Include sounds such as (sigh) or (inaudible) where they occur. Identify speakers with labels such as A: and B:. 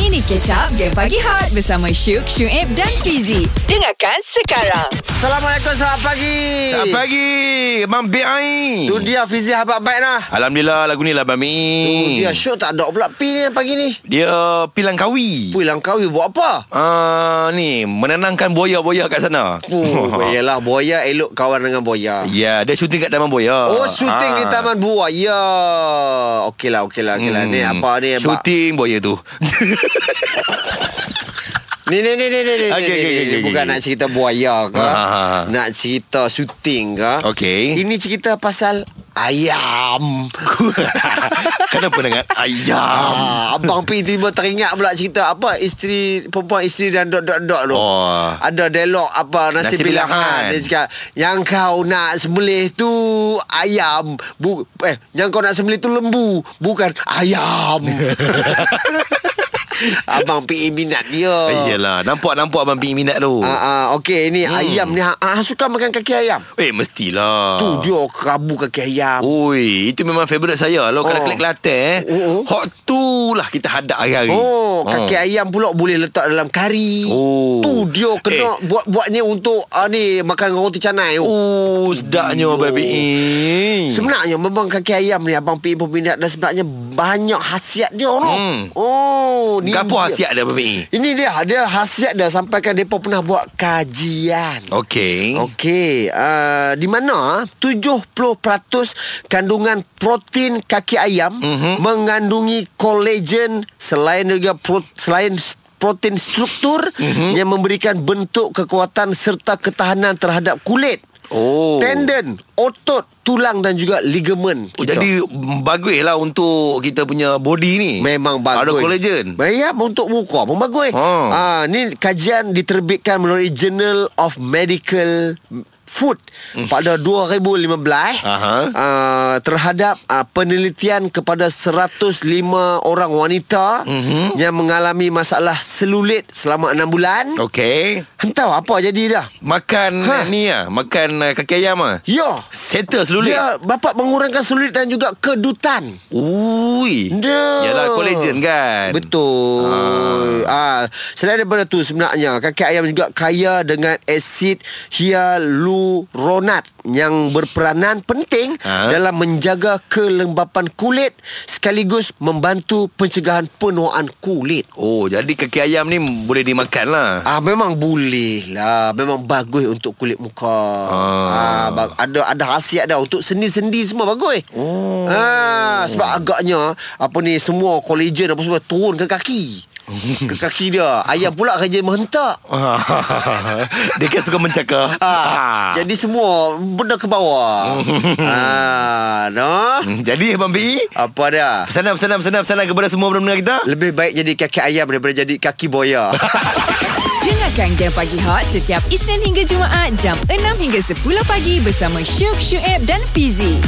A: Mari catch up Game Pagi Hot Bersama Syuk, Syuib dan Fizi Dengarkan sekarang
B: Assalamualaikum, selamat pagi.
C: Selamat pagi Abang Biai
B: Tu dia Fizi habak baik lah.
C: Alhamdulillah lagu ni lah Abang
B: Hmm.
C: Mi
B: Dia syok tak ada pula pi ni pagi ni.
C: Dia pilang kawi
B: Pui langkawi buat apa?
C: Ah Ni Menenangkan boya-boya kat sana (laughs)
B: Oh, baiklah Boya elok kawan dengan Boya.
C: Ya Ha. Dia syuting kat Taman Boya Ah.
B: Oh, syuting di Taman Buah. Ya. Okeylah, okeylah, okeylah. Hmm. Ni apa ni? Abang?
C: Syuting boya
B: (laughs)
C: tu
B: Ni ni ni ni ni. ni, ni, ni,
C: Okey, okey, okey,
B: ni.
C: okey,
B: Bukan
C: okey.
B: nak cerita buaya ke?
C: Ah, ah, ah.
B: Nak cerita syuting ke?
C: Okey.
B: Ini cerita pasal ayam.
C: Kenapa dengan ayam
B: (laughs) Ah, abang Pi tiba teringat pula cerita apa isteri perempuan isteri dan dot dot dot tu.
C: Oh.
B: Ada dialog apa nasi,
C: Nasi
B: bilangan.
C: bilangan.
B: Dia cakap yang kau nak sembelih tu ayam. Bu, eh yang kau nak sembelih tu lembu bukan
C: (laughs)
B: ayam. abang Pi minat dia.
C: Iyalah Nampak-nampak Abang Mi minat tu
B: Ah, ah, okey ni hmm. ayam ni ah, ah, suka makan kaki ayam.
C: Eh mestilah
B: Tu dia kerabu kaki ayam.
C: Oi, itu memang favourite saya. Kalau oh.
B: Oh.
C: kalau klik Kelantan eh,
B: Oh, oh.
C: hot tu lah kita hadap hari-hari.
B: Oh, kaki
C: Ah.
B: ayam pula boleh letak dalam kari.
C: Oh.
B: Tu dia kena
C: Eh.
B: buat buatnya untuk uh, ni makan dengan roti canai tu.
C: Oh, sedapnya
B: Yo.
C: baby. E. Hmm.
B: Sebenarnya memang kaki ayam ni abang Pin peminat dan sebenarnya banyak khasiat dia orang.
C: Hmm.
B: Oh, ni
C: Gapo
B: dia.
C: hasiat dia baby. E?
B: Ini dia, dia khasiat dah sampaikan depa pernah buat kajian.
C: Oh. Okey.
B: Okey, uh, di mana 70% kandungan protein kaki ayam
C: Mhm.
B: mengandungi kolagen selain juga pro, selain s- protein struktur
C: Mhm.
B: yang memberikan bentuk kekuatan serta ketahanan terhadap kulit,
C: Oh.
B: tendon, otot, tulang dan juga ligamen.
C: Oh,
B: kita.
C: jadi bagus lah untuk kita punya body ni.
B: Memang bagus.
C: Ada collagen.
B: Ya, untuk muka pun bagus.
C: Ha.
B: Ah, ni kajian diterbitkan melalui Journal of Medical Food pada 2015
C: Hmm. Aha.
B: ah, terhadap ah, penelitian kepada 105 orang wanita
C: Mhm.
B: yang mengalami masalah selulit selama 6 bulan.
C: Oh. Okey.
B: Entah apa jadi dah.
C: Makan
B: Ha.
C: ni lah. Makan uh, kaki ayam lah.
B: Ya.
C: Settle selulit.
B: Dia dapat mengurangkan selulit dan juga kedutan.
C: Ui.
B: Dia.
C: Yalah, collagen kan.
B: Betul. Ah. selain daripada tu sebenarnya kaki ayam juga kaya dengan asid hyaluronat yang berperanan penting
C: Ah.
B: dalam menjaga kelembapan kulit sekaligus membantu pencegahan penuaan kulit.
C: Oh, jadi kaki ayam ni boleh dimakan
B: (laughs)
C: lah.
B: Ah memang boleh lah Memang bagus untuk kulit muka ah.
C: Ah.
B: ba- Ada ada khasiat dah Untuk sendi-sendi semua bagus oh. ah, Sebab agaknya Apa ni semua kolagen apa semua Turun ke (laughs) kaki Ke kaki dia Ayam pula kerja menghentak
C: Dia kan suka mencakar.
B: ah. Jadi semua benda ke (laughs) bawah ah, no?
C: Hmm, Jadi Abang Bi,
B: Apa dia
C: pesanan pesanan pesanan pesanan kepada semua pendengar kita.
B: Lebih baik jadi kaki ayam Daripada jadi kaki (laughs) boya
A: Dengarkan Game Pagi Hot Setiap Isnin hingga Jumaat Jam 6 hingga 10 pagi Bersama Syuk, Syuib dan Fizi